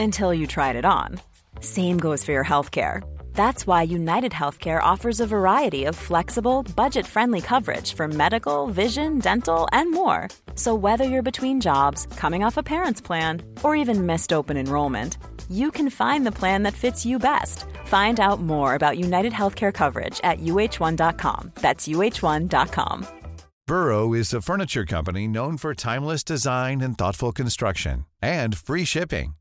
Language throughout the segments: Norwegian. until you tried it on. Same goes for your healthcare. That's why United Healthcare offers a variety of flexible, budget friendly coverage for medical, vision, dental, and more. So, whether you're between jobs, coming off a parent's plan, or even missed open enrollment, you can find the plan that fits you best. Find out more about United Healthcare coverage at uh1.com. That's uh1.com. Burrow is a furniture company known for timeless design and thoughtful construction and free shipping,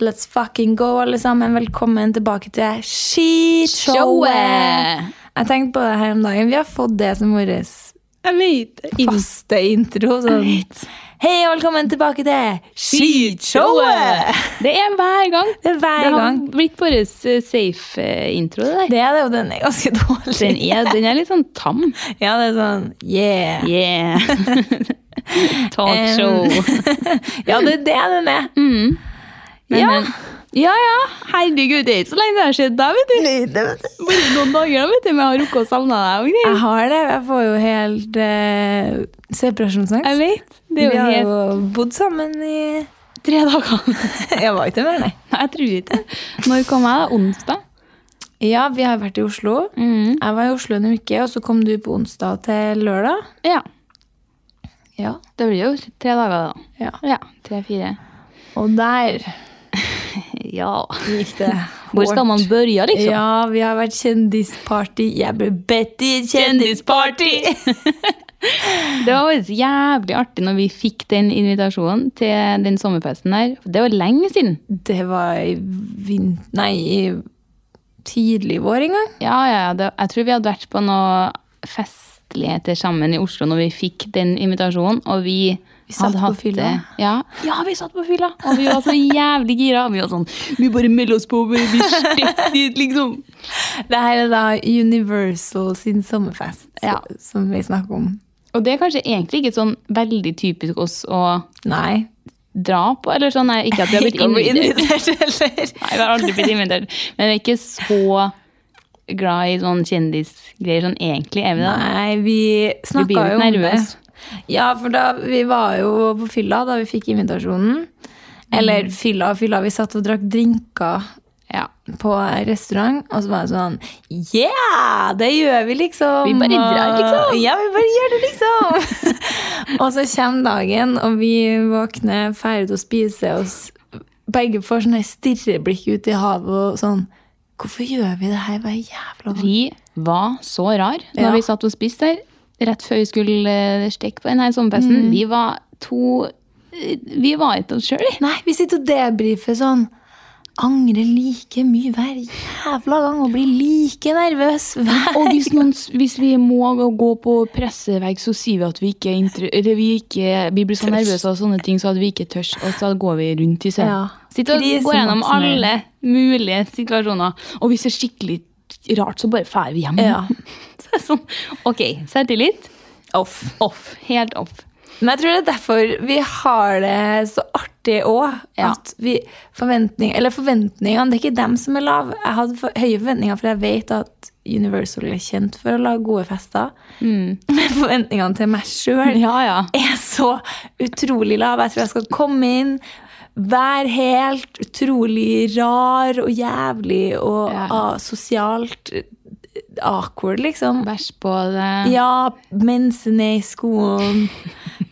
Let's fucking go, alle sammen. Velkommen tilbake til skishowet. Jeg tenkte på det her om dagen. Vi har fått det som vår Jeg vet det. faste intro. Sånn. Hei, og velkommen tilbake til skishowet! Det er hver gang. Det er hver det sånn- har gang. blitt vår safe-intro, eh, det der. Det er det jo. Den er ganske dårlig. Den er, den er litt sånn tam. Ja, det er sånn yeah. Yeah. Talk show. Ja, det er det den er. Mm. Men, ja. men, ja, ja. Herregud, det er ikke så lenge det har skjedd deg, vet du. Bare noen dager, da, vet du. Men jeg har rukket å savne deg og Jeg greier. har det. Jeg får jo helt eh, separasjonsangst. Jeg vet. Det er Vi jo har helt jo bodd sammen i tre dager. Jeg var ikke mer, nei. Nei, jeg tror ikke det. Når kom jeg? da? Onsdag? Ja, vi har vært i Oslo. Mm. Jeg var i Oslo en uke, og så kom du på onsdag til lørdag. Ja. Ja. Det blir jo tre dager, da. Ja. Tre-fire. Og der Ja. gikk det Hvor skal man begynne, liksom? Ja, vi har vært kjendisparty. Jeg ble bedt i et kjendisparty! Det var faktisk jævlig artig når vi fikk den invitasjonen til den sommerfesten der. Det var lenge siden. Det var i vint... Nei, i tidlig vår en gang. Ja, ja, ja, det, jeg tror vi hadde vært på noe festligheter sammen i Oslo når vi fikk den invitasjonen, og vi Vi satt hadde på hatt fylla. det- Ja. ja, vi satt på fylla, og vi var så jævlig gira. og Vi var sånn, vi bare melder oss på, vi blir stept dit, liksom. Det her er da Universal sin sommerfest, Ja. som vi snakker om. Og det er kanskje egentlig ikke sånn veldig typisk oss å Nei. dra på, eller sånn, nei, ikke at vi har blitt Ikke å bli invitert. heller. Nei, vi har aldri blitt invitert. Men vi er ikke så glad i sånn kjendisgreier sånn egentlig, er vi det? Nei, vi Vi snakka blir jo jo om det. nervøse. Ja, for da, vi var jo på fylla da vi fikk invitasjonen. Eller Mm. fylla og fylla. Vi satt og drakk drinker Ja. på restaurant, og så var det sånn Yeah! Det gjør vi, liksom. Vi bare drar, liksom. Og- Ja, vi bare gjør det, liksom. og så kommer dagen, og vi våkner ferdig til å spise oss. Begge får sånne stirreblikk ut i havet og sånn Hvorfor gjør vi det her hver jævla gang? Vi var så rar når Ja. vi satt og spiste der, rett før vi skulle eh, stikke på denne sommerfesten. Mm. Vi var to eh, Vi var ikke oss sjøl, vi. Nei, vi sitter og debrifer sånn. Angrer like mye hver jævla gang og blir like nervøs hver Og hvis, noen, s- hvis vi må gå- gå på pressevegg, så sier vi at vi ikke er inter- eller vi, ikke, vi blir så nervøse av sånne ting, så at vi ikke tørs. Og så går vi rundt i søvn. Ja. Sitter og Krise går gjennom Madsen. alle mulige situasjoner. Og hvis det er skikkelig rart, så bare drar vi hjem. Ja. Så det er sånn, ok, selvtillit off. off. Helt off. Men jeg tror det er derfor vi har det så artig òg. Ja. At vi forventning, Eller forventningene, det er ikke dem som er lave. Jeg hadde for, høye forventninger, for jeg vet at Universal er kjent for å lage gode fester. Men forventningene til meg sjøl Ja, ja. er så utrolig lav. Jeg tror jeg skal komme inn, være helt utrolig rar og jævlig og Ja. ah, sosialt awkward, liksom. Bæsj på det. Ja, mensen er i skoen.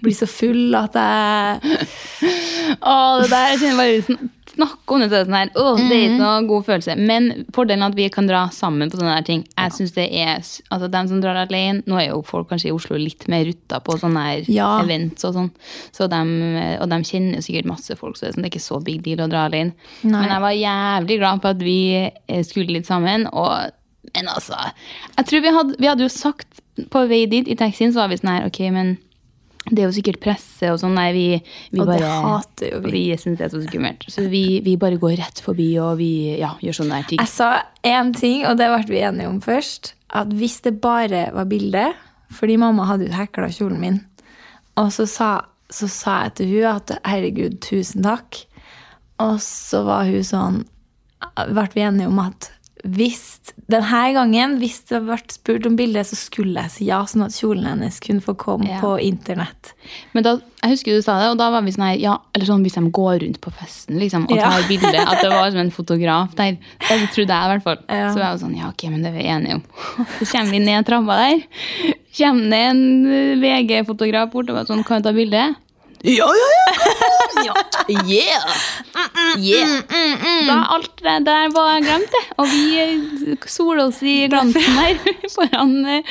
blir så full at jeg Å, det der, jeg kjenner bare sn- Snakke om det så er det sånn her. Å, det er Mm. ikke noe god følelse. Men fordelen er at vi kan dra sammen på sånne her ting. Jeg synes det er, s- altså dem som drar alene, Nå er jo folk kanskje i Oslo litt mer rutta på sånne her Ja. events og sånn. Så dem, eh, og de kjenner jo sikkert masse folk, så det er, sånn, det er ikke så big deal å dra alene. Nei. Men jeg var jævlig glad på at vi eh, skulle litt sammen. og men altså, jeg tror vi hadde, vi hadde jo sagt på vei dit i taxien, så var vi sånn her, ok, men det er jo sikkert presse og sånn. Nei, vi, vi Og det bare hater jo vi. Vi syns det er så skummelt. Så vi, vi bare går rett forbi og vi ja, gjør sånne der ting. Jeg sa én ting, og det ble vi enige om først. At hvis det bare var bilde Fordi mamma hadde jo hekla kjolen min. Og så sa, så sa jeg til hun at herregud, tusen takk. Og så var hun sånn Ble vi enige om at hvis denne gangen, hvis det ble spurt om bilde, så skulle jeg si ja, sånn at kjolen hennes kunne få komme Ja. på internett. Men da, jeg husker du sa det, og da var vi sånn her ja, eller sånn hvis de går rundt på festen liksom, og Ja. tar bilde, at det var som en fotograf der. Det trodde jeg i hvert fall. Ja. Så var jeg jo sånn, ja, ok, men det er vi enige om. Så kommer vi ned trappa der, kommer det en eh, VG-fotograf bort og var sånn, kan vi ta bilde? Ja, ja, ja! ja. Yeah! mm. Da, alt det der var glemt, det. Og vi eh, soler oss i glansen her foran eh,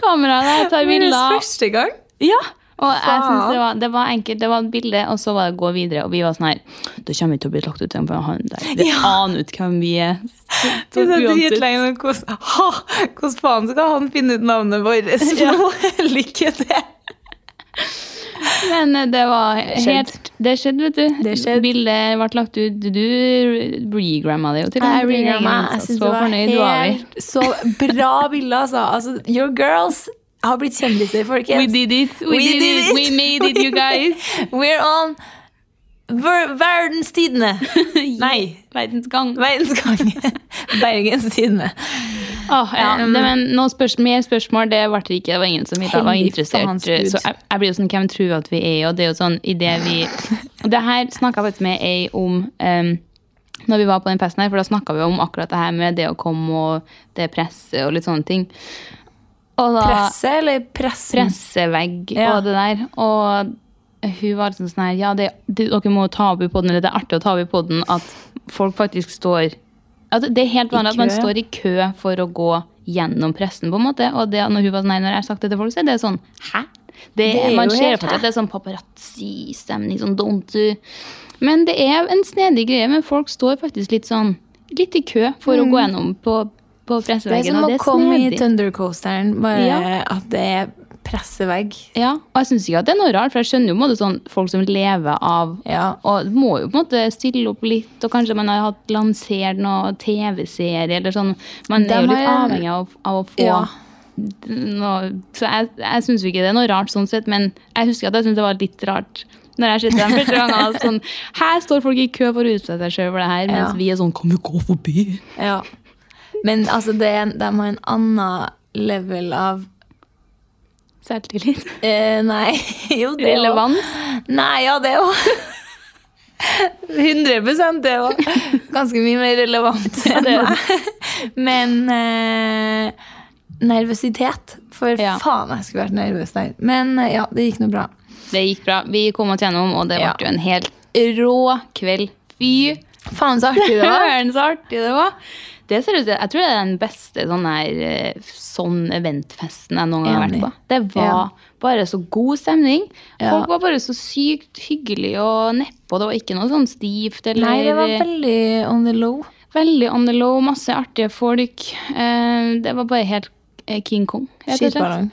kameraet der, tar bilder. første gang. Ja, og jeg synes Faen. det var, det var enkelt. Det var et bilde, og så var det å gå videre. Og vi var sånn her Da kommer vi til å bli lagt ut igjen, for han der Det aner ut hvem vi er. Så, Vi satt uansett. dritlenge og hvordan ha, hvordan faen skal han finne ut navnet vårt? Ja. Lykke til! Men eh, det var helt Det skjedde, vet du. Det skjedde. Bildet ble lagt ut. Du regramma det jo til Jeg og med. altså. regret meg. Jeg synes Så det var fornøyd var vi. helt så bra bilde, altså. altså. Your girls har blitt kjendiser, folkens. We did it. We, did, it. We made it, you guys. We're on ver verdens tidene. Nei, Verdens gang. verdens gang. Bergens tidene. Åh, ja. Um, det, men noen spørs mer spørsmål det ble det ikke. Det var ingen som ville- var Hellig interessert. faens Så jeg, Gud. jeg blir jo sånn, Hvem tror vi at vi er? Og det er jo sånn, i det vi Og det her snakka jeg faktisk med ei om um, når vi var på den festen her, for da snakka vi om akkurat det her med det å komme og det presset og litt sånne ting. Og da, Presse eller pressen? pressevegg Ja. og det der. Og hun var liksom sånn her Ja, det, det, dere må ta opp i podden, eller det er artig å ta opp i podden at folk faktisk står at Det er helt vanlig at man kø. står i kø for å gå gjennom pressen, på en måte. Og det, når hun var sånn her, når jeg har sagt det til folk, så er det sånn Hæ? Det, er man jo ser helt for seg at det er sånn paparazzi-stemning, sånn don't do Men det er en snedig greie, men folk står faktisk litt sånn Litt i kø for å gå gjennom på, på Mm. Det er presseveggen. som og å komme i snedig. Thundercoasteren, bare Ja. at det er pressevegg. Ja, og jeg syns ikke at det er noe rart, for jeg skjønner jo på en måte sånn folk som lever av Ja. Og må jo på en måte stille opp litt, og kanskje man har hatt lansert noe TV-serie eller sånn. Man De er jo litt har- avhengig av, av å få Ja. noe Så jeg, jeg syns jo ikke det er noe rart sånn sett, men jeg husker at jeg syns det var litt rart. Når jeg sitter den første gangen og sånn Her står folk i kø for å utsette seg sjøl for det her, Ja. mens vi er sånn Kan vi gå forbi? Ja. Men altså, det, er- de har en annen level av Selvtillit. eh, Nei, jo, det også. Relevans. Nei, ja, det òg. 100 det òg. Ganske mye mer relevant. enn det meg. er Men eh, nervøsitet. For Ja. faen, jeg skulle vært nervøs der. Men eh, ja, det gikk nå bra. Det gikk bra. Vi kom oss gjennom, og det ble Ja. jo en helt rå kveld. Fy Faen, så artig det var. Søren, så artig det var! Det ser ut til, Jeg tror det er den beste sånn, her, eh, sånn eventfesten jeg noen gang har vært Enig. på. Det var Ja. bare så god stemning. Ja. Folk var bare så sykt hyggelige og nedpå. Det var ikke noe sånn stivt eller Nei, det var veldig on the low. veldig on the low. Masse artige folk. Eh, Det var bare helt eh, King Kong, rett og slett. Skitballong.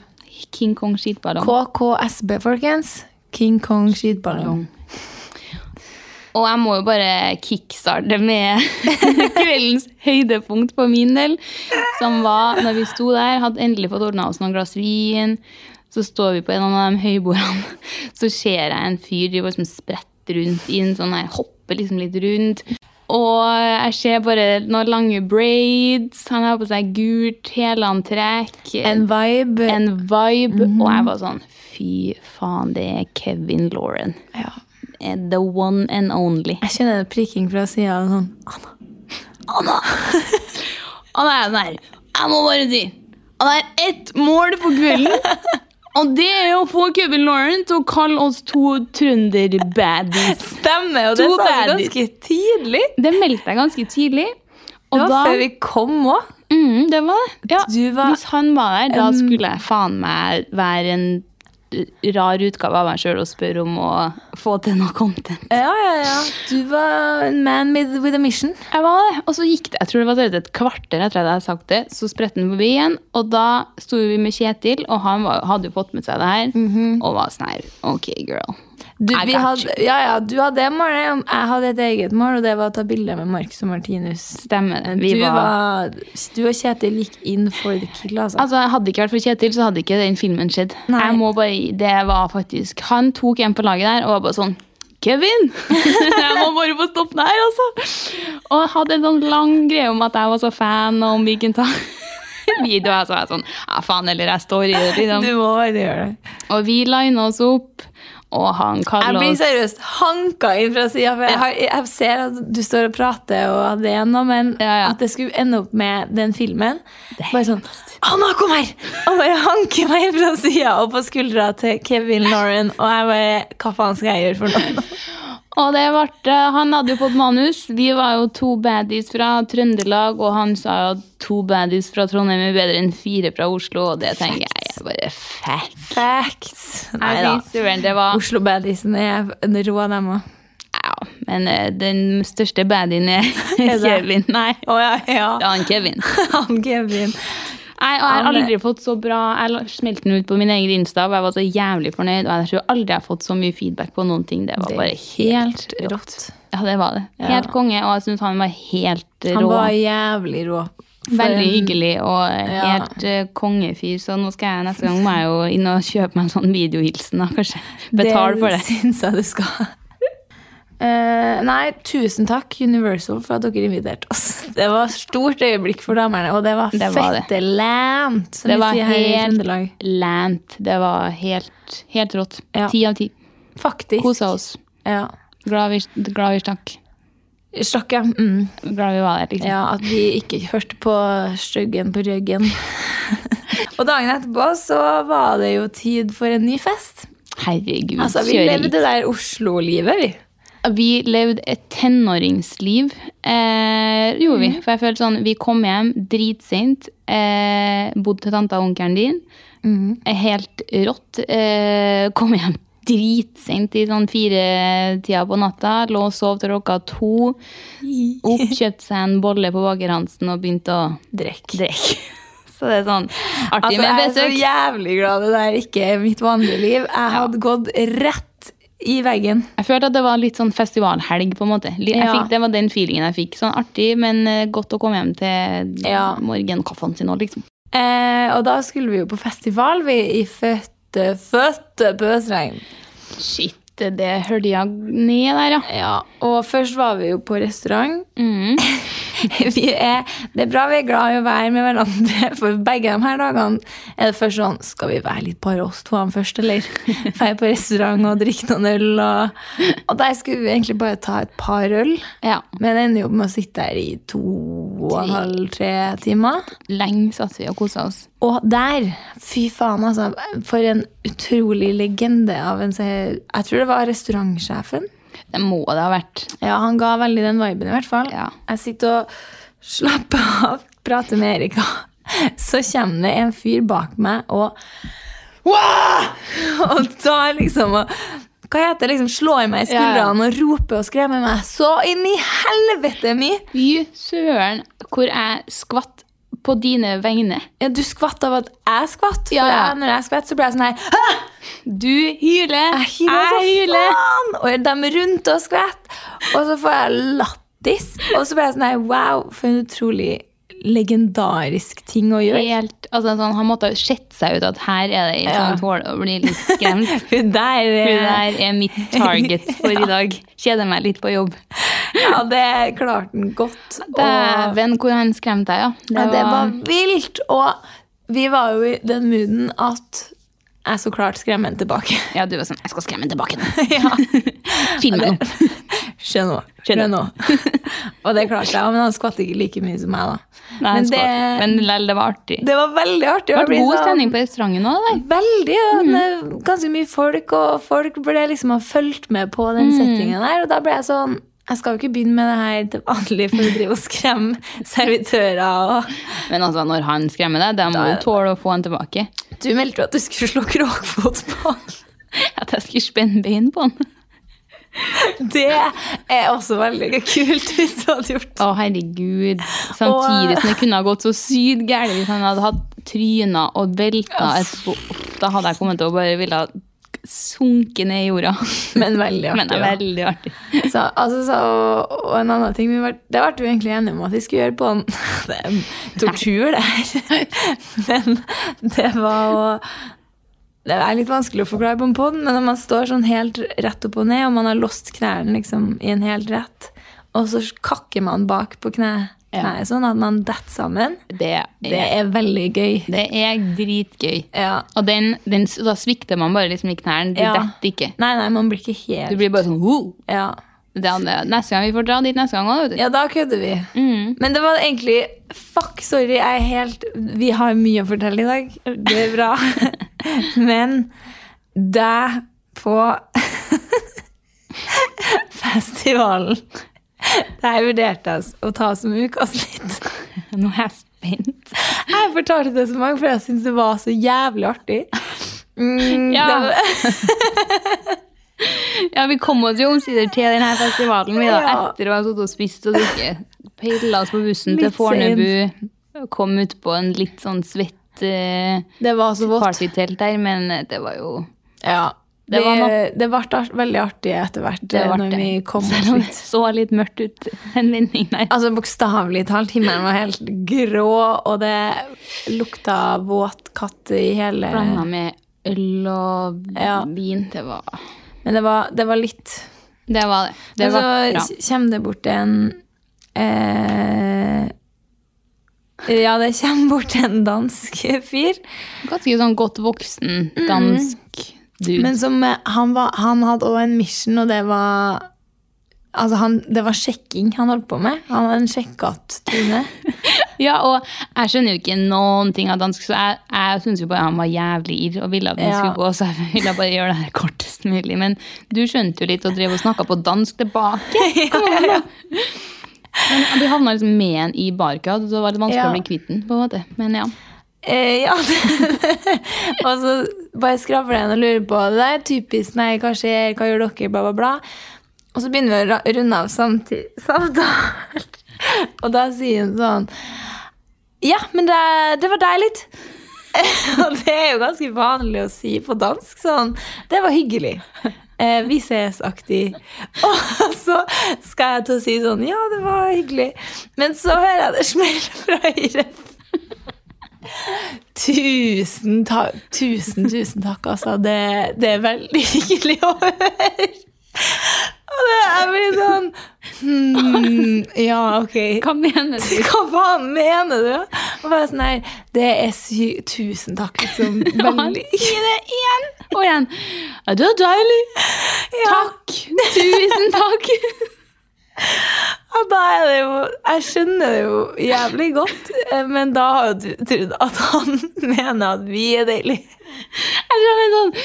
King Kong skitballong. KKSB, folkens. King Kong skitballong. Og jeg må jo bare kickstarte med kveldens høydepunkt på min del. Som var når vi sto der, hadde endelig fått ordna oss noen glass vin. Så står vi på en av de høybordene, så ser jeg en fyr driver og liksom spretter rundt inn. sånn her, Hopper liksom litt rundt. Og jeg ser bare noen lange braids. Han har på seg gult helantrekk. En vibe. Mhm. en vibe. Og jeg var sånn Fy faen, det er Kevin Lauren. Ja. The one and only. Jeg kjenner det prikking fra sida. Sånn. Anna. Anna! Anna er sånn her. Jeg må bare si at det er ett mål for kvelden. Og det er å få Kevin Lauren til å kalle oss to trønder-baddies. Stemmer, og det sa To vi baddies. ganske tidlig. Det meldte jeg ganske tidlig. Det Og var da, før vi kom òg. mm, det var det. Ja, Du var hvis han var der, da skulle jeg faen meg være en rar utgave av meg sjøl og spørre om å få til noe content. Ja, ja, ja. Du var en man with, with a mission. Jeg var det, Og så gikk det jeg tror det var et kvarter etter at jeg hadde sagt det, så spredte han forbi igjen. Og da sto vi med Kjetil, og han var, hadde jo fått med seg det her. Mhm. Og var sånn her Ok, girl. Du, I vi got hadde, ja, ja, du hadde det målet, jeg hadde et eget mål, og det var å ta bilder med Marcus og Martinus. Stemmer det. Men Vi du, var, var, du og Kjetil gikk inn for the kill, altså. Altså, Hadde det ikke vært for Kjetil, så hadde ikke den filmen skjedd. Nei. Jeg må bare, det var faktisk, Han tok en på laget der og var bare sånn Kevin! jeg må bare få stoppe det her, altså! Og jeg hadde en sånn lang greie om at jeg var så fan, og om vi kunne ta videoer. Så var jeg sånn Ja, faen, eller jeg står i det, liksom. du må bare gjøre det. Og vi lina oss opp, og han Jeg kaller blir oss seriøst hanka inn fra sida. For jeg, har, jeg ser at du står og prater, og det er noe, men Ja, ja. at det skulle ende opp med den filmen Bare sånn Anna, kom her! Og bare hanker meg inn fra sida og på skuldra til Kevin Lauren. Og jeg bare Hva faen skal jeg gjøre for noe? Og det ble, han hadde jo fått manus. Vi var jo to baddies fra Trøndelag, og han sa jo at to baddies fra Trondheim er bedre enn fire fra Oslo, og det tenker jeg er bare fett. Facts. Nei Jeg da. synes søren, det var Oslo Badisen er en rå, dem òg. ja, Men eh, den største baddien er Er det? Kevin. Nei, det Å ja, er han Kevin. Han Kevin. Nei, og jeg har aldri fått så bra Jeg la- smelte den ut på min egen Insta, og jeg var så jævlig fornøyd. Og jeg tror aldri jeg har fått så mye feedback på noen ting. Det var Det er bare helt helt rått. rått. Ja, det var det. Helt konge, og jeg syns han var helt rå. Han var jævlig rå. For Veldig en- hyggelig og eh, Ja. helt eh, kongefyr, så nå skal jeg neste gang må jeg jo inn og kjøpe meg en sånn videohilsen, da, kanskje. Betale for det. syns jeg du skal. Eh, nei, tusen takk, Universal, for at dere inviterte oss. Det var stort øyeblikk for damene, og det var Det var det. fette lant, som Det vi var sier her i helt Trøndelag. lant. Det var helt, helt rått. Ja. Ti av ti. Faktisk. Kosa oss. Ja. Glad vi, glad vi stakk. Stakk, ja. Mm. Glad vi var der, liksom. ja. At vi ikke hørte på styggen på ryggen. og dagen etterpå så var det jo tid for en ny fest. Herregud, Altså, vi kjører levde det der Oslo-livet, vi. Vi levde et tenåringsliv. Eh, Mhm. gjorde vi. For jeg følte sånn, vi kom hjem dritsent. Eh, bodde til tanta og onkelen din. Mhm. Eh, Helt rått. Eh, kom hjem dritsent i sånn firetida på natta. Lå og sov til klokka to. Opp, kjøpte seg en bolle på Baker Hansen og begynte å Drekk. drikke. Så det er sånn Altså, artig med jeg er så besøk. jævlig glad det der ikke er mitt vanlige liv. Jeg hadde gått rett i veggen. Jeg følte at det var litt sånn festivalhelg, på en måte. Li- Jeg Ja. fikk, det var den feelingen jeg fikk. Sånn artig, men eh, godt å komme hjem til Ja. morgenkaffen sin òg, liksom. Eh, og da skulle vi jo på festival, vi, i fødte, fødte pøsregn. Shit, det hølja ned der, ja. Ja, og først var vi jo på restaurant. Mm. Vi er, det er bra vi er glad i å være med hverandre, for begge de her dagene er det først sånn Skal vi være litt bare oss to først, eller? Være på restaurant og drikke noen øl, og, og der skulle vi egentlig bare ta et par øl. ja. Men jeg ender jo opp med å sitte her i to og en halv, tre timer. Lenge satt vi og kosa oss. Og der, fy faen, altså. For en utrolig legende av en se- Jeg tror det var restaurantsjefen. Det må det ha vært. Ja, han ga veldig den viben, i hvert fall. Ja. Jeg sitter og slapper av, prater med Erika. Så kommer det en fyr bak meg og Wah! Og tar liksom og Hva heter det? Liksom slår meg i Ja, ja. skuldrene og roper og skremmer meg så inn i helvete mye. Fy søren, hvor jeg skvatt på dine vegne. Ja, du skvatt av at jeg skvatt. For Ja, ja. jeg, når jeg skvatt, så ble jeg sånn her «Hæ? Du hyler, Jeg hyler så faen! Og de rundt og skvatt. Og så får jeg lattis. Og så ble jeg sånn her Wow, for en utrolig legendarisk ting å gjøre. Helt, altså, sånn, han måtte ha sett seg ut at her er det ei Ja. sånn tåle å bli litt skremt. Hun der eh, For det der er mitt target for i dag. Kjeder meg litt på jobb. Ja, det klarte han godt. Og, Dæven, hvor han skremte deg, ja. Det ja, det var var, vilt. Og vi var jo i den mooden at jeg så klart skremmer han tilbake. ja, du var sånn Jeg skal skremme ham tilbake nå. ja. Film meg nå. Skjønner. Skjønner. Skjønner. Og det klarte jeg, men han skvatt ikke like mye som meg, da. Nei, Men men, det... det- men lell, det var artig. Det Det var veldig artig. og jeg var blir god sånn- stemning Mm. på restauranten òg. Veldig. Og det er ganske mye folk, og folk burde liksom ha fulgt med på den Mm. settingen der. Og da ble jeg sånn Jeg skal jo ikke begynne med det her til vanlig for å drive og skremme servitører. Og Men altså, når han skremmer deg, da må du tåle å få han tilbake. du meldte jo at du skulle slå krokfot på han. At jeg skulle spenne bein på han. Det er også veldig kult hvis du hadde gjort Å, herregud. Samtidig som det kunne ha gått så sykt gærent hvis han hadde hatt tryna og velta etterpå. Uff, Da hadde jeg kommet til å bare ville ha sunket ned i jorda. Men veldig artig, Men det er da. veldig artig. Så, altså, så, og, og en annen ting vi var, Det ble vi egentlig enige om at vi skulle gjøre på en Det er en tortur, det her. Men det var å Det er litt vanskelig å forklare på en pod, men når man står sånn helt rett opp og ned, og man har låst knærne liksom, i en helt rett, og så kakker man bak på kne, kneet sånn at man detter sammen, Det er, det er veldig gøy. det er dritgøy. Ja. Og den, den, da svikter man bare liksom i knærne. Du Ja. detter ikke. Nei, nei, man blir ikke helt Du blir bare sånn wow. ja. Det er, neste gang vi får dra dit neste gang òg, vet du. Ja, da kødder vi. Mm. Men det var egentlig Fuck, sorry, jeg er helt Vi har mye å fortelle i dag. Det er bra. Men deg på festivalen Der vurderte jeg å ta som ukas litt. Nå er jeg spent. Jeg fortalte det så mange, for jeg syntes det var så jævlig artig. Mm, Ja. det var- Ja, vi kom oss jo omsider til denne festivalen vi da, Ja. etter å ha sittet og spist og drukket. Pilla oss på bussen til Litt Fornebu. Kom ut på en litt sånn svett eh, det var så vått. partytelt der, men eh, det var jo Ja. Det, Det var noe. det ble art, veldig artig etter hvert det var når artig. vi kom oss Selv om litt det så litt mørkt ut en vending der. Altså Bokstavelig talt. Himmelen var helt grå, og det lukta våt katt i hele Blanda med øl og Ja. vin. Det var Men det var, det var litt. det. Var det. det Men var bra. så kommer det bort en eh, Ja, det kommer bort en dansk fyr. Ganske sånn godt voksen dansk dude. Mhm. Men som, eh, han, var, han hadde også en mission, og det var Altså, han, det var sjekking han holdt på med. Han hadde en sjekkatt-tone. Ja, og jeg skjønner jo ikke noen ting av dansk, så jeg, jeg syns jo bare han var jævlig irr og ville at vi Ja. skulle gå, så jeg ville bare gjøre det her kortest mulig. Men du skjønte jo litt og drev og snakka på dansk tilbake. Kom an, da. Men vi havna liksom med en i barkad, så det var litt vanskelig Ja. å bli kvitt den. på en måte. Men ja. Eh, ja. og så bare skravler en og lurer på det der. Typisk nei, hva skjer, hva gjør dere, bla, bla, bla. Og så begynner vi å ra- runde av samtidig samtalen. og da sier hun sånn Ja, men det, det var deg litt. og det er jo ganske vanlig å si på dansk sånn. Det var hyggelig. Eh, vi ses-aktig. Og så skal jeg til å si sånn Ja, det var hyggelig. Men så hører jeg det smelle fra høyre Tusen, ta tusen, tusen takk, altså. Det, det er veldig hyggelig å høre. Og det er blir sånn hmm, Ja, ok. Hva mener du? Hva faen mener du? Og bare sånn her Det er sy... Tusen takk, liksom. Veldig sier det igjen og igjen. Ja, det var deilig. Takk. Tusen takk. Ja, da er det jo Jeg skjønner det jo jævlig godt, eh, men da har jo du trodd at han mener at vi er deilige. Jeg tror jeg er sånn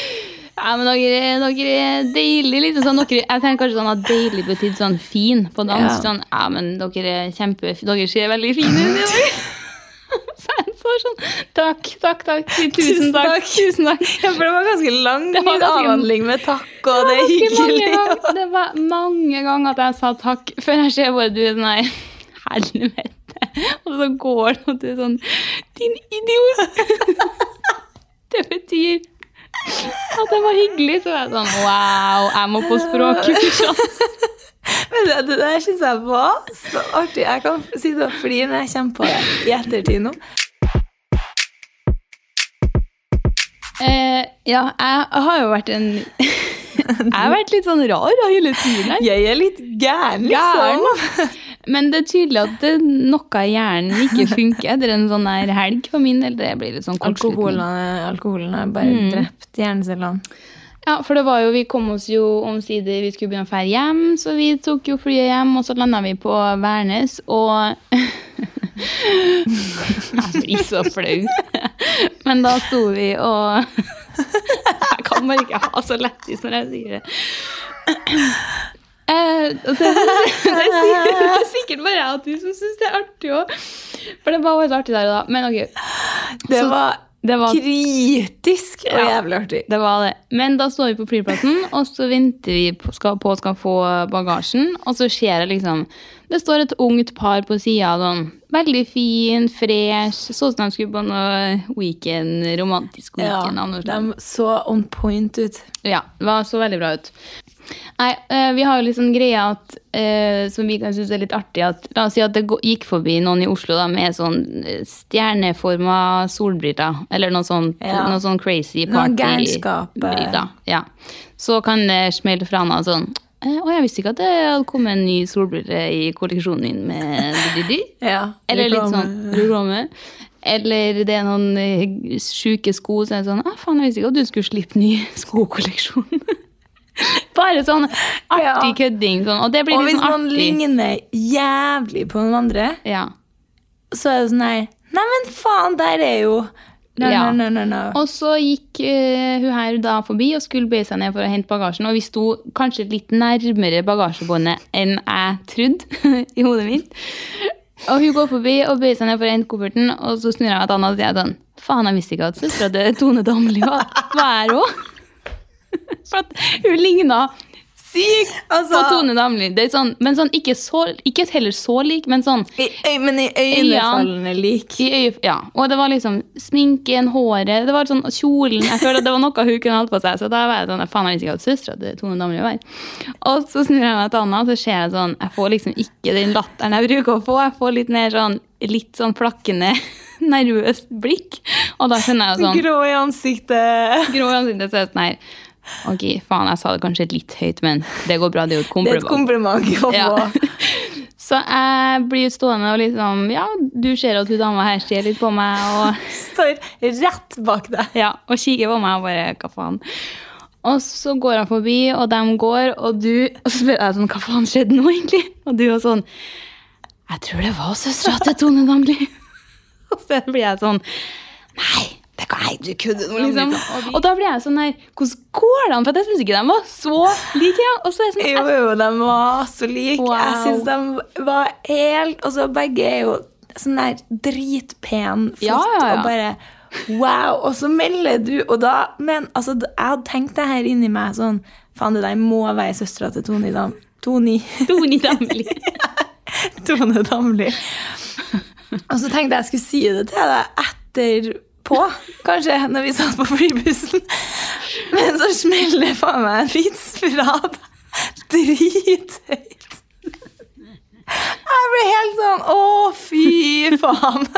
ja, men dere, dere er deilig, liksom. Sånn, dere, jeg tenker kanskje sånn at deilig betydde sånn fin på dansk. Ja. Sånn, ja, men dere er kjempe... Dere ser veldig fine ut i dag. Så jeg så sånn Takk, takk, takk. Tusen Tusen takk. takk. Tusen takk. Ja, for det var ganske lang Det var ganske- avhandling med takk, og det er Ganske mange hyggelig. og- ganger, det var mange ganger at jeg sa takk, før jeg ser bare du er sånn her Helvete. Og så går det, og du er sånn Din idiot! Det betyr at det var hyggelig. Så jeg er sånn Wow, jeg må på språkkurs. ass. Men det, det der syns jeg var så artig. Jeg kan sitte og flire når jeg kommer på det i ettertid nå. Eh, ja, jeg har jo vært en Jeg har vært litt sånn rar da, hele tiden. her. Jeg er litt gæren, Gæren. liksom. Men det er tydelig at det, noe i hjernen ikke funker etter en sånn her helg for min del. Det blir litt sånn kortslutning. Mm. Alkoholen, alkoholen har bare drept hjernecellene. Ja, for det var jo, vi kom oss jo omsider, vi skulle begynne å fære hjem, så vi tok jo flyet hjem, og så landa vi på Værnes, og Jeg blir så flau. Men da sto vi og Jeg kan bare ikke ha så lættis når jeg sier det. Eh, og Det, det, er sikkert, det er sikkert bare jeg og du som syns det er artig òg. For det var også artig der og da. Men ok, Det Så- var det var kritisk og Ja. jævlig artig. det var det. Men da står vi på flyplassen, og så venter vi på skal, på skal få bagasjen. Og så ser jeg liksom Det står et ungt par på sida. Sånn, veldig fin, fresh. Så ut som de skulle på noe weekend, romantisk weekend. av noe slag. de så on point ut. Ja, det var så veldig bra ut. Nei, eh, vi har jo liksom greia at, eh, som vi kan synes er litt artig, at la oss si at det gå- gikk forbi noen i Oslo da, med sånn eh, stjerneforma solbriller, eller noe sånn, Ja. noe sånn crazy Noen gærenskap, eh. partybriller. Ja. Så kan det smelle fra henne sånn, eh, å, jeg visste ikke at det hadde kommet en ny solbrille i kolleksjonen din med Didi. Ja, Eller litt reklame. sånn reklame. Eller det er noen eh, sjuke sko som er det sånn ah, faen, jeg visste ikke at du skulle slippe ny skokolleksjon. Bare sånn Ja. artig kødding. Sånn. Og det blir Og litt hvis sånn man artig. ligner jævlig på noen andre, Ja. så er det sånn her Nei, men faen, der er jo Nei, Ja. nei, nei, nei, nei. Og så gikk eh, hun her da forbi og skulle bøye seg ned for å hente bagasjen. Og vi sto kanskje litt nærmere bagasjebåndet enn jeg trodde i hodet mitt. Og hun går forbi og bøyer seg ned for å hente kofferten, og så snur jeg meg til Anna og sier sånn Faen, jeg visste ikke at søstera til Tone Damli var var her òg. For at hun ligna sykt på Altså- Tone Damli. Det er sånn, men sånn ikke, så, ikke heller så lik, men sånn I, øy, men i øynefallene lik. i øye, ja, og det var liksom sminken, håret, det var sånn kjolen. Jeg føler at det var noe hun kunne holdt på seg. Så da var jeg sånn, faen, jeg visste ikke at søstera til Tone Damli var her. Og så snur jeg meg til Anna, og så ser jeg sånn, jeg får liksom ikke den latteren jeg bruker å få. Jeg får litt mer sånn, litt sånn flakkende, nervøst blikk. Og da skjønner jeg jo sånn, Grå i ansiktet. grå i ansiktet, så er jeg sånn her, ok, faen, jeg sa det kanskje litt høyt, men det går bra, det er jo et Det er et kompliment kompliment. å få. Ja. Så jeg blir stående og liksom, ja, du ser at hun dama her ser litt på meg, og... Står rett bak deg. Ja, og kikker på meg og bare hva faen. Og så går han forbi, og de går, og du Og så spør jeg sånn, hva faen skjedde nå, egentlig? Og du var sånn Jeg tror det var søstera til Tone Damli. og så blir jeg sånn Nei, det kan jeg du kødder nå, liksom. Og da blir jeg sånn her Hvordan går det an? For jeg syns ikke de var så like. Ja. Og så er jeg sånn Jo, jo, de var så like. Jeg Wow. syns de var helt Og så begge er jo sånn der dritpen, flott Ja, ja, ja. og bare Wow! Og så melder du, og da Men altså, d- jeg hadde tenkt det her inni meg sånn Faen, det der må være søstera til Tone Dam... Toni. Tone Damli. Tone Damli. Og så tenkte jeg jeg skulle si det til deg etterpå, kanskje, når vi satt på flybussen. Men så smeller det faen meg en vits fra deg. Drithøyt. Jeg ble helt sånn Å, fy faen.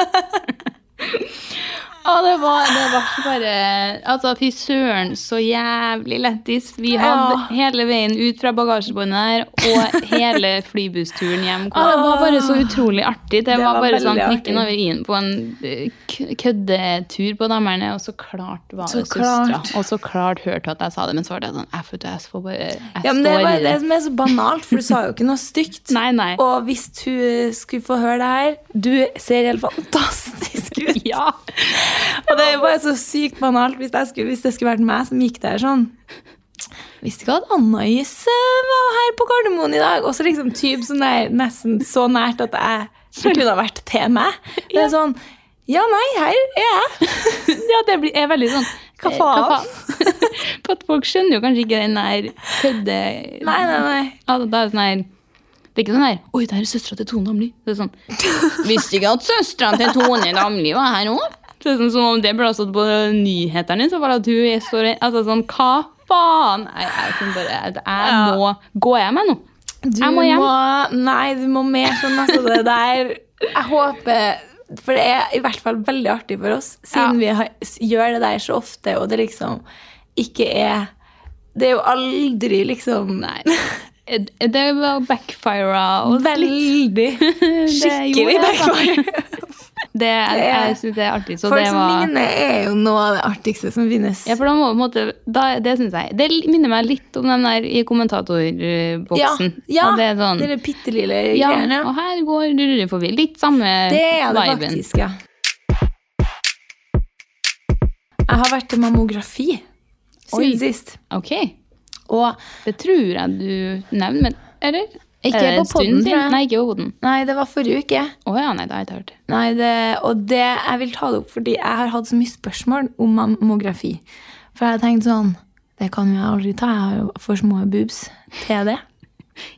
Ja, det var, det var ikke bare Altså, fy søren, så jævlig lættis. Vi hadde Ja. hele veien ut fra bagasjebåndet her og hele flybusturen hjem. Og det var bare så utrolig artig. Det, var, Ah. var bare veldig sånn prikken artig. over i-en på en eh, k- køddetur på Dammerne, og så klart var Så det søstera. klart. Og så klart hørte hun at jeg sa det, men så var det sånn Jeg, vet, jeg, får bare, jeg Ja, men det står er i bare det det. som er så banalt, for du sa jo ikke noe stygt. Nei, nei. Og hvis hun skulle få høre det her Du ser helt fantastisk ut. Ja. Og det er jo bare så sykt banalt hvis, jeg skulle, hvis det skulle vært meg som gikk der sånn. Visste ikke at Anna-Is var her på Gardermoen i dag. Og så liksom typ sånn der, nesten så nært at jeg det kunne ha vært til meg. Det er sånn Ja, nei, her er jeg. ja, det blir, er veldig sånn Hva eh, faen? faen? For at folk skjønner jo kanskje ikke den der kødde... Nei, nei, nei. Altså, det er sånn her Det er ikke sånn her Oi, det her er søstera til Tone Damli. Det er sånn Visste ikke at søstera til Tone Damli var her òg. Det er sånn som om det burde ha stått på nyhetene. Så var det at hun er så redd. Altså sånn Hva faen? Jeg, jeg, kan bare, jeg, jeg må Går jeg meg nå? Du Jeg må hjem. nei, du må mer sånn altså det der. Jeg håper For det er i hvert fall veldig artig for oss, siden Ja. vi har, s- gjør det der så ofte, og det liksom ikke er Det er jo aldri liksom Nei. Eh, Det var backfira oss litt. Veldig. Det gjorde Skikkelig jeg, altså. da. backfire. Det, jeg, jeg synes det er artig. Så Folks det var minne er jo noe av det artigste som finnes. Ja, for da må på en måte da, Det synes jeg Det minner meg litt om den der i kommentatorboksen. Ja, Og det er sånn dere pittelille ja, greiene. og her går Rurre forbi. Litt samme Det er det viben. faktisk, ja. Jeg har vært til mammografi Oi. siden sist. Ok. Og Det tror jeg du nevner, men Eller? Ikke Er på det en stund podden, siden? tror jeg. Nei, ikke på podden. nei, det var forrige uke. Å ja, nei, det har jeg ikke hørt. Nei, det, og det, jeg vil ta det opp fordi jeg har hatt så mye spørsmål om mammografi. For jeg har tenkt sånn Det kan jo jeg aldri ta. Jeg har jo for små boobs til det.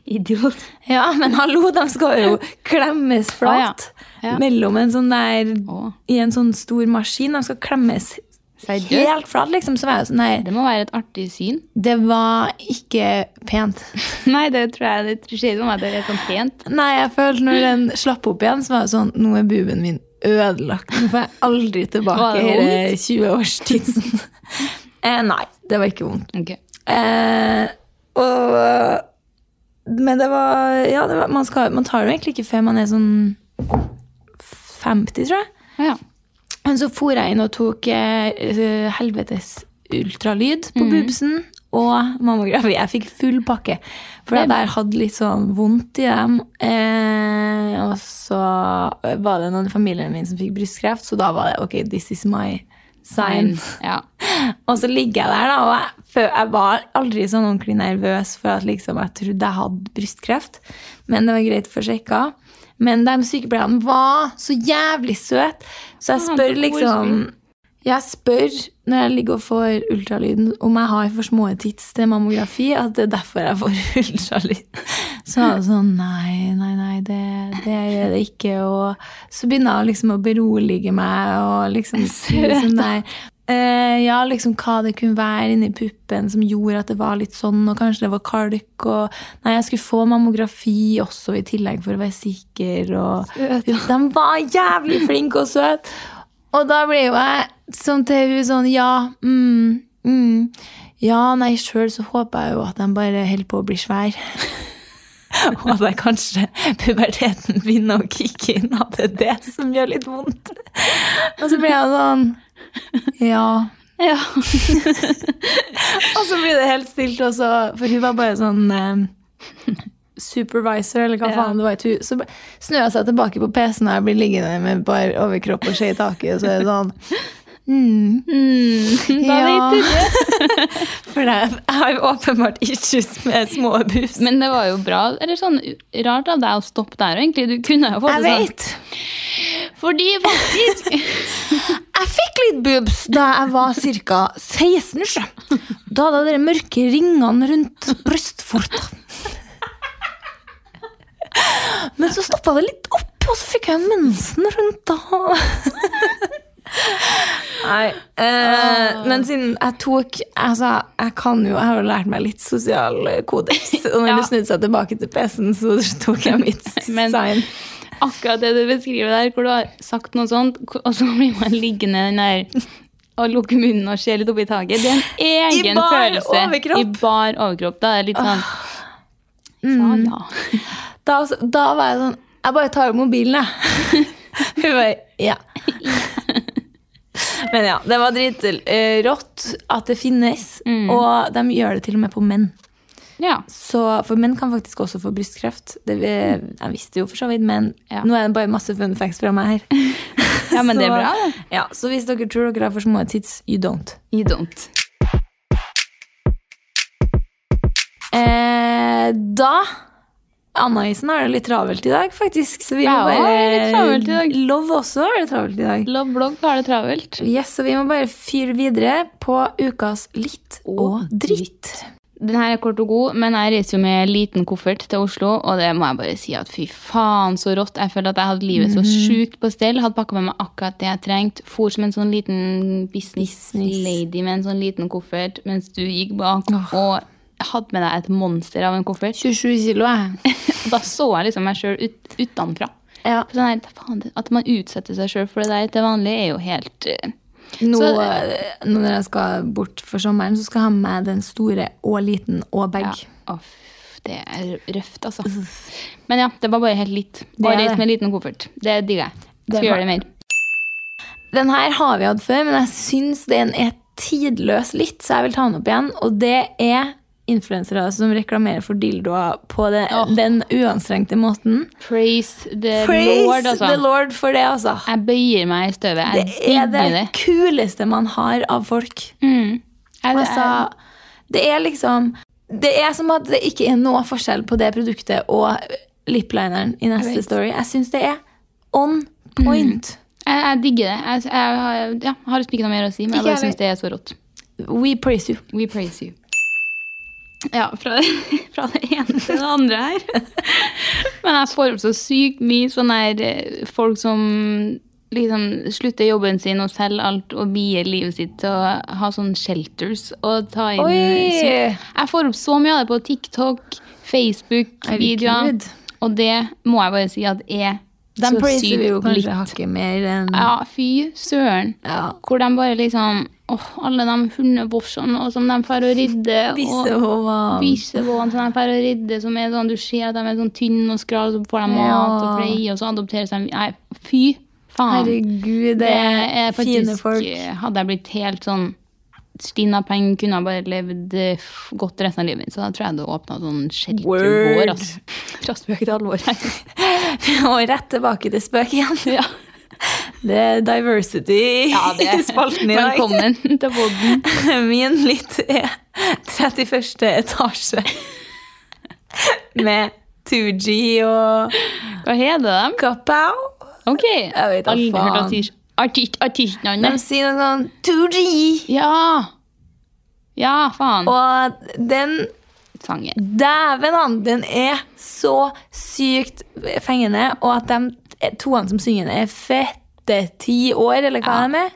Idiot. Ja, men hallo, de skal jo klemmes flat ja. Ja. mellom en sånn der Å. I en sånn stor maskin. De skal klemmes Seriøst? helt flat, liksom. Så var jeg sånn Nei, Det må være et artig syn. det var ikke pent. Nei, det tror jeg det skjer ikke meg. Det er sånn pent. Nei, jeg følte når den slapp opp igjen, så var det sånn Nå er buben min ødelagt. Nå får jeg aldri Var tilbake det hele 20-årstidsen. eh, nei, det var ikke vondt. Ok. Eh, og Men det var Ja, det var, man, skal, man tar det jo egentlig ikke før man er sånn 50, tror jeg. Å ja. Men så for jeg inn og tok eh, helvetes ultralyd på bubsen og mammografi. Jeg fikk full pakke. For at jeg hadde litt sånn vondt i dem. Eh, og så var det noen i familien min som fikk brystkreft, så da var det ok, this is my sign. Ja. Og så ligger jeg der, da, og jeg, fø- jeg var aldri sånn ordentlig nervøs for at liksom, jeg trodde jeg hadde brystkreft. Men det var greit for sjekka. Men de sykepleierne var så jævlig søte, så jeg Faen, så spør koselig. liksom Jeg spør når jeg ligger og får ultralyden, om jeg har for små tits til mammografi, at det er derfor jeg får ultralyd. Så er det sånn Nei, nei, nei, det, det gjør det ikke. Og så begynner jeg liksom å berolige meg og liksom si sånn der eh, ja, liksom hva det kunne være inni puppen som gjorde at det var litt sånn, og kanskje det var kalk, og Nei, jeg skulle få mammografi også i tillegg for å være sikker, og De var jævlig flinke og søte! Og da blir jo jeg sånn til hun sånn Ja, mm, mm. Ja, nei, sjøl så håper jeg jo at de bare holder på å bli svære. Og at jeg kanskje puberteten begynner å kicke inn, at det er det som gjør litt vondt. Og så blir jeg sånn Ja. ja. Og så blir det helt stilt også, for hun var bare sånn eh, supervisor, eller hva Ja. faen det var. i tu- Så b- snur jeg seg tilbake på PC-en, og jeg blir liggende med bare overkropp og skje i taket, og så er det sånn Mm, da Ja. vet du det. For det- jeg har jo åpenbart issues med små bus. Men det var jo bra. Eller sånn rart av deg å stoppe der, egentlig. Du kunne jo fått det sånn. Fordi faktisk Jeg fikk litt boobs da jeg var ca. 16. sjø. Da hadde jeg de mørke ringene rundt brystforta. Men så stoppa det litt opp, og så fikk jeg mensen rundt da. Nei, eh, men siden jeg tok altså, Jeg kan jo, jeg har jo lært meg litt sosial kodeks. Og når Ja. det snudde seg tilbake til PC-en, så tok jeg mitt Men- sign. akkurat det du beskriver der, hvor du har sagt noe sånt, og så blir man liggende den der og lukke munnen og se litt opp i taket. Det er en I egen bar følelse. overkropp. Ah. I bar overkropp. Da er det litt sånn Ja, Mm. ja. da, da var jeg sånn Jeg bare tar opp mobilen, jeg. Hun bare Ja. Men ja, det var dritrått at det finnes. Mm. Og de gjør det til og med på menn. ja. Så, for menn kan faktisk også få brystkreft. Det, vi- jeg visste jo for så vidt, men Ja. nå er det bare masse fun facts fra meg her. ja, men det er Så- bra, det. Ja, så hvis dere tror dere har for små tits, you don't. You don't. Eh, da Anna-isen har det litt travelt i dag, faktisk. Så vi må Ja, det er litt bare travelt i dag. Love også har det travelt i dag. Love blogg har det travelt. Yes, så vi må bare fyre videre på ukas litt og dritt. Den her er kort og god, men jeg reiser jo med liten koffert til Oslo, og det må jeg bare si at fy faen, så rått. Jeg føler at jeg hadde livet så sjukt på stell. Hadde pakka med meg akkurat det jeg trengte. For som en sånn liten business, Business. lady med en sånn liten koffert mens du gikk bak og hadde med deg et monster av en koffert. 27 kilo, jeg. Og da så jeg liksom meg sjøl ut, utenfra. Ja, For Sånn her, faen, det- at man utsetter seg sjøl for det der til vanlig, er jo helt eh, nå, Så- eh, nå når jeg skal bort for sommeren, så skal jeg ha med meg den store og liten og bag. Ja. Å, f- det er røft, altså. Men ja, det var bare helt litt. Det Bare er reis det. med en liten koffert. Det digger jeg. Skal er bra. gjøre det mer. Den her har vi hatt før, men jeg syns den er tidløs litt, så jeg vil ta den opp igjen. Og det er influensere som reklamerer for dildoer på det, den uanstrengte måten. Praise the Praise Lord, altså. the Lord for det, altså. Jeg bøyer meg i støvet. Det Jeg er det digger det. kuleste man har av folk. Jeg, Altså, det er liksom Det er som at det ikke er noe forskjell på det produktet og liplineren i neste story. Jeg syns det er on point. jeg, jeg digger det. Jeg, jeg, har- ja, har liksom ikke noe mer å si, men jeg Ikke bare jeg syns det er så rått. We praise you. We praise you. Ja, fra, fra det ene til det andre her. Men jeg får opp så sykt mye sånn her eh, folk som liksom slutter jobben sin og selger alt og bier livet sitt til å ha sånn shelters og ta inn Oi! Jeg får opp så mye av det på TikTok, Facebook-videoer, Herregud. og det må jeg bare si at er Den så praiser vi jo sykt kanskje litt. hakket mer enn Ja, fy søren. Ja. Hvor de bare liksom Åh, alle de hundebofsene og som de får å rydde. og Bissehova. Bikkjevåene som de får å rydde, som er sånn, du ser at de er sånn tynne og skral, så får de mat og Ja. pleie, og så adopteres de Nei, fy faen. Herregud, det er er fine faktisk- eh, folk. Hadde jeg blitt helt sånn Stina Peng kunne ha bare levd eh, f- godt resten av livet mitt, så da tror jeg det åpna sånn sheltergård. Word. ass. Fra spøk til alvor. Og rett tilbake til spøk igjen. ja. Det er diversity ja, det i spalten i dag. Velkommen til podden. Min litt er 31. etasje. Med 2G og Hva heter de? Kapow. Ok. Jeg vet da Aldri faen. hørt artist, artist, De artistnavnet. sier noe sånn 2G. Ja! Ja, faen. Og den Sangen. Dæven, han! Den er så sykt fengende. Og at de toene som synger den, er fette ti år, eller hva de er.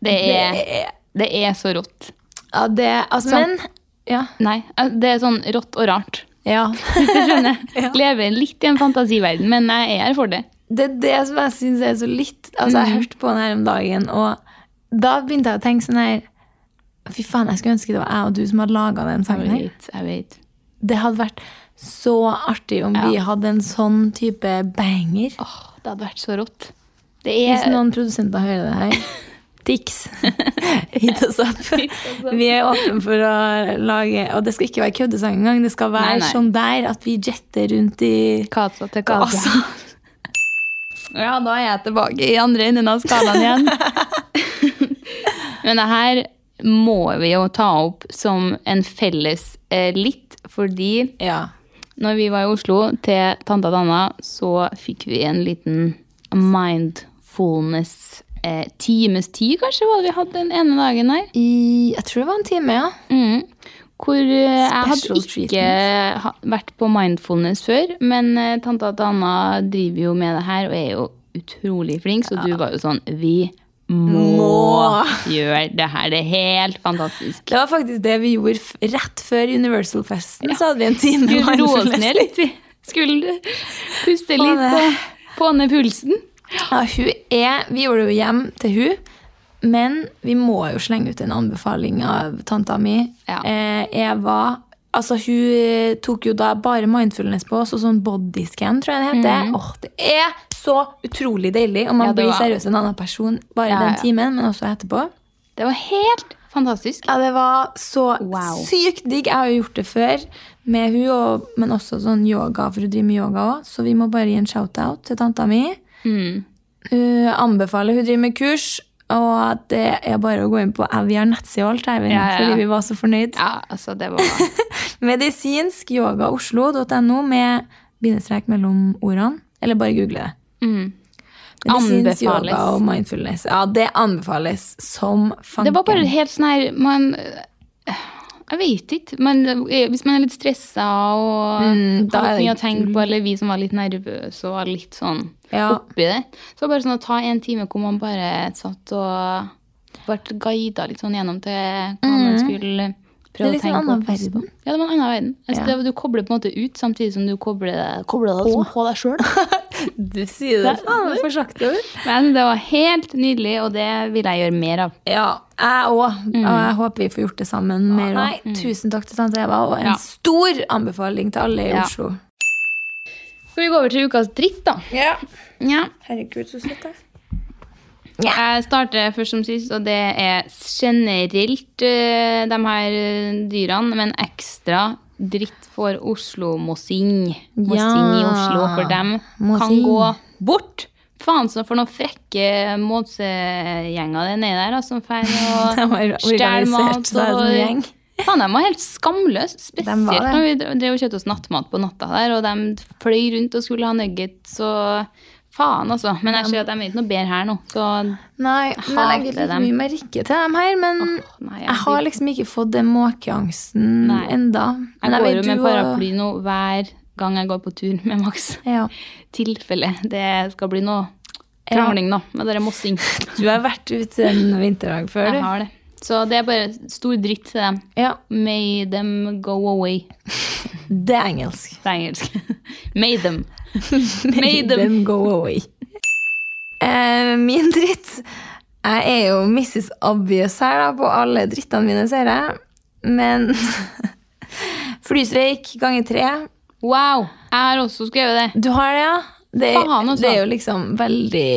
Det er, Det er- det er så rått. Ja, det Altså, men Sånn. Ja. Nei, al- det er sånn rått og rart. ja. Hvis du skjønner. Lever litt i en fantasiverden, men jeg er her for det. Det er det som jeg syns er så litt Altså, jeg hørte på den her om dagen, og da begynte jeg å tenke sånn her Fy faen, jeg skulle ønske det var jeg og du som hadde laga den sangen her. Jeg vet, jeg vet. Det hadde vært så artig om vi hadde en sånn type banger. Åh, det hadde vært så rått. Det Hvis er noen produsenter hører det her Tix. Hit us up. Vi er åpne for å lage Og det skal ikke være køddesang engang. Det skal være Nei, nei. sånn der at vi jetter rundt i kasa til Altså, kasa. Ja, da er jeg tilbake i andre enden av skalaen igjen. Men det her må vi jo ta opp som en felles eh, litt, fordi ja. når vi var i Oslo til Tanta Danna, så fikk vi en liten mindfulness eh, times tid, kanskje, var det vi hadde den ene dagen her. I Jeg tror det var en time, ja. Mm. Hvor eh, jeg hadde Special ikke ha- vært på mindfulness før, men eh, tanta Dana driver jo med det her og er jo utrolig flink, så du var jo sånn Vi må gjøre det her. Det er helt fantastisk. Det var faktisk det vi gjorde f- rett før Universal-festen. Så hadde vi en time Skulle roe oss mindfulness. ned litt. vi. Skulle puste Få litt ned. og få ned pulsen. Ja, hun er, vi gjorde det jo hjem til hun, men vi må jo slenge ut en anbefaling av tanta mi. Ja. Eh, Eva, altså hun eh, tok jo da bare mindfulness på oss, og sånn bodyscan, tror jeg det heter. Åh, det er så utrolig deilig, og man Mhm. Ja, det blir var- seriøst en annen person bare Ja, den ja. timen, men også etterpå. Det var helt fantastisk. Ja, det var så Wow. sykt digg. Jeg har jo gjort det før med hun, og, men også sånn yoga, for hun driver med yoga òg. Så vi må bare gi en shout-out til tanta mi. Mm. Hun anbefaler hun driver med kurs, og at det er bare å gå inn på ja, Vi har nettside og alt, Eivind, Ja, ja, ja. fordi vi var så fornøyd. Ja, altså, det var Medisinskyogaoslo.no med bindestrek mellom ordene. Eller bare google det. Medisinsk Mm. Anbefales. yoga og mindfulness. Ja, det anbefales som fanken. Det var bare helt sånn her man, Jeg vet ikke. Men hvis man er litt stressa og Mm, da har er det mye å tenke på, eller vi som var litt nervøse og var litt sånn Ja. oppi det Så var det bare sånn å ta en time hvor man bare satt og ble guida litt sånn gjennom til hva Mm. man skulle Det er prøve å litt en tenke annen på. verden. Ja, det var en annen verden. Altså, Ja. det var- du kobler på en måte ut samtidig som du kobler deg, kobler deg liksom på. deg sjøl. Du sier det faen meg for sakte. ord. Men det var helt nydelig, og det vil jeg gjøre mer av. Ja, jeg òg. Og jeg håper vi får gjort det sammen mer òg. Tusen takk til tante Eva, og en Ja. stor anbefaling til alle i Ja. Oslo. Skal vi gå over til ukas dritt, da? Ja. Ja. Herregud, så søtt. Jeg starter først som sist, og det er generelt eh, de her eh, dyrene, men ekstra dritt for Oslo-mossing. Mossing i Oslo, for dem kan mossing. gå bort. Faen så for noen frekke måsegjenger det er nedi der, altså, som feier De har og stjeler organisert mat. seg som og- gjeng. Faen, de var helt skamløse. Spesielt De var det. når vi drev drev og kjøpte oss nattmat på natta der, og de fløy rundt og skulle ha nuggets og Faen, altså. Men jeg ser at de er ikke noe bedre her nå, så Nei, Jeg men jeg legger hater litt mye dem. merke til dem her, men nei, jeg jeg har blir- liksom ikke fått den måkeangsten Nei. enda. Men Jeg går jo vet med du og- paraply nå hver gang jeg går på tur med Max. Ja. Tilfelle det skal bli noe Ja. krangling, da, med dere mossing. Du har vært ute en vinterdag før, Jeg du. har det. Så det er bare stor dritt til dem. Ja, May them go away. det er engelsk. Det er engelsk. May them. May them. go away. Eh, min dritt Jeg er jo Mrs. Obvious her, da, på alle drittene mine, ser jeg. Men flystreik ganger tre. Wow! Jeg har også skrevet det. Du har det, ja? Det, Faen, altså. det er jo liksom veldig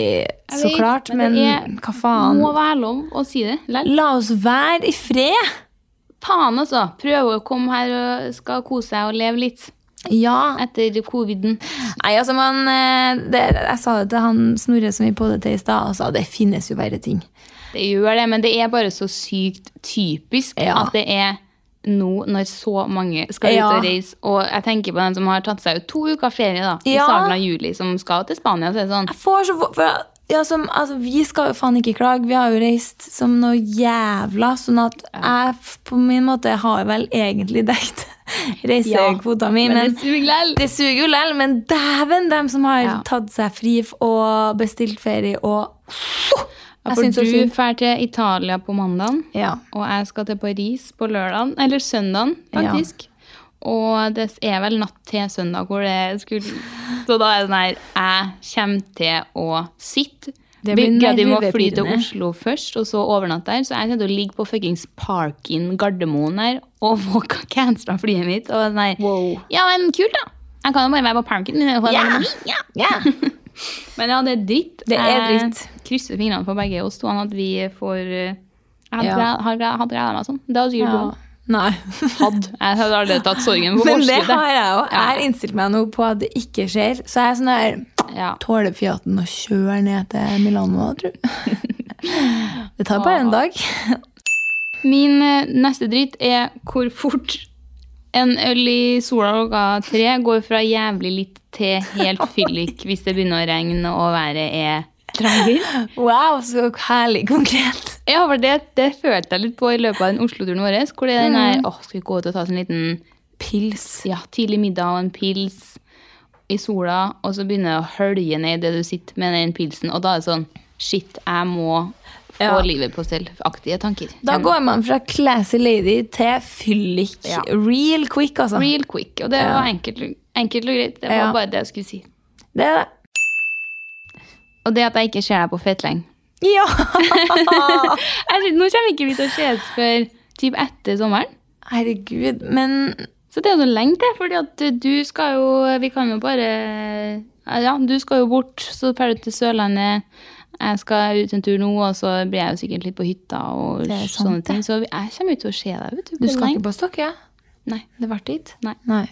Så vet, klart, men, men det er- hva faen? Må være lov å si det. Lell. La oss være i fred! Faen, altså. Prøve å komme her og skal kose seg og leve litt Ja. etter coviden. Nei, altså, man eh, det, Jeg sa det til han Snorre som vi poddet til i stad, og sa det finnes jo verre ting. Det gjør det, men det er bare så sykt typisk Ja. at det er nå når så mange skal Ja. ut og reise. Og jeg tenker på den som har tatt seg ut to uker ferie da, i Ja. starten av juli, som skal til Spania. Så er det sånn, Jeg får så for, ja, som, altså, Vi skal jo faen ikke klage. Vi har jo reist som noe jævla, sånn at jeg f- på min måte har vel egentlig dekt reisekvota mi, men, men det suger lell. Det suger jo lell, men dæven dem som har Ja. tatt seg fri f- og bestilt ferie og Jeg For syns så du synd. drar til Italia på mandagen, Ja. og jeg skal til Paris på lørdagen, eller søndagen faktisk. Og det er vel natt til søndag hvor det skulle Så da er det sånn her Jeg kommer til å sitte. Det blir Begge de må fly til nervepirrende. Oslo først, og så overnatte der. Så jeg kommer til å ligge på fuckings Parkin Gardermoen her og få cancela flyet mitt. Og sånn her Ja, men kult, da! Jeg kan jo bare være på Parkin. Ja. Men ja, det er dritt. Det er Jeg dritt. krysser fingrene for begge oss to, sånn at vi får eh, Jeg hadde Ja. gled- har gled- hadde gleda meg sånn. Det hadde sikkert Ja. gått. Nei. Hadde. Jeg hadde allerede tatt sorgen på Men det forskuddet. har jeg jo. Jeg Ja. har innstilt meg nå på at det ikke skjer. Så jeg er sånn der Ja. Tåler Fiaten å kjøre ned til Milano, tror du? Det tar bare en dag. Min eh, neste dritt er hvor fort en øl i sola klokka tre går fra jævlig litt til helt fyllik hvis det begynner å regne og været er trager. Wow, så herlig konkret. Ja, for det, det følte jeg litt på i løpet av den Oslo-turen vår. Hvor det er den der, åh, skal vi gå ut og ta oss en liten Pils. ja, tidlig middag og en pils i sola, og så begynner det å hølje ned det du sitter med den pilsen, og da er det sånn, shit, jeg må få Ja. livet på selvaktige tanker. Da går man fra classy lady til fyllik. Ja. Real quick, altså. Real quick. Og det var enkelt, enkelt og greit. Det var Ja. bare det jeg skulle si. Det er det. Og det at jeg ikke ser deg på fettleng. Ja! Jeg skjønner- Nå kommer ikke vi til å ses før typ etter sommeren. Herregud, men Så det er jo så lenge til, fordi at du skal jo Vi kan jo bare eh, Ja, du skal jo bort, så drar du til Sørlandet. Jeg skal ut en tur nå, og så blir jeg jo sikkert litt på hytta og er sant, sånne det. ting. Så jeg kommer jo til å se deg, vet du. Du på skal lenge. ikke på Stokke? Nei. Det ble dit? Nei.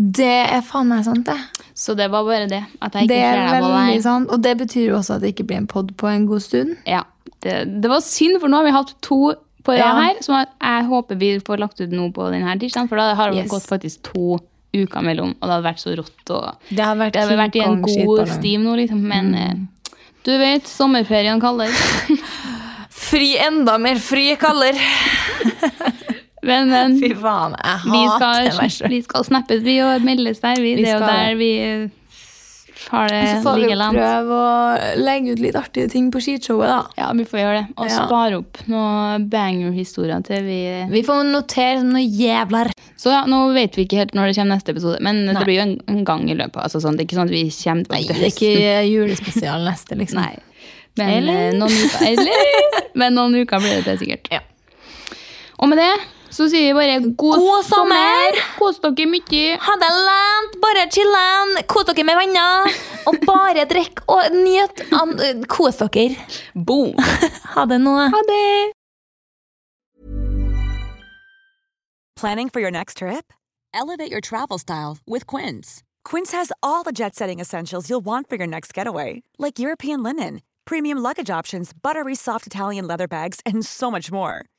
Det er faen meg sant, det. Så det var bare det. At jeg ikke Det er ser deg på veldig deg. sant. Og det betyr jo også at det ikke blir en pod på en god stund. Ja, det, det var synd, for nå har vi hatt to på rad Ja. her, som jeg- jeg håper vi får lagt ut nå på denne tirsdagen, for da har det Yes. gått faktisk to uker mellom, og det hadde vært så rått. Og Det hadde vært King vært i en Kong god skitballong. stim nå, liksom. Men Mm. eh, du vet, sommerferien kaller. Fri enda mer fri, kaller. Men, men Fy faen, jeg vi, hater meg skal, selv. vi skal snappes, vi, og meldes der. Vi, Vi det er jo skal det. der vi eh, har det Så får vi jo liggeland. prøve å legge ut litt artige ting på skishowet, da. Ja, vi får gjøre det. Og Ja. spare opp noen banger-historier til vi eh, Vi får notere som noe jævlar. Så ja, nå vet vi ikke helt når det kommer neste episode, men det blir jo en, en gang i løpet. Altså, sånn, det er ikke sånn at vi kommer Nei, til det er ikke høsten. julespesial neste, liksom. Nei. Men, Eller? eh, Noen uker, eller? Men noen uker blir det det sikkert. Og med det Så sier vi bare god, God sommer! sommer! Kos dere mye! Ha det lent, bare chillen, kos dere med venner, og bare drikk og nyt. an- eh, Kos dere. Boom! Ha det nå. Ha det! Planning for your next trip? Elevate your travel style with Quince. Quince has all the jet setting essentials you'll want for your next getaway, like European linen, premium luggage options, buttery soft Italian leather bags, and so much more.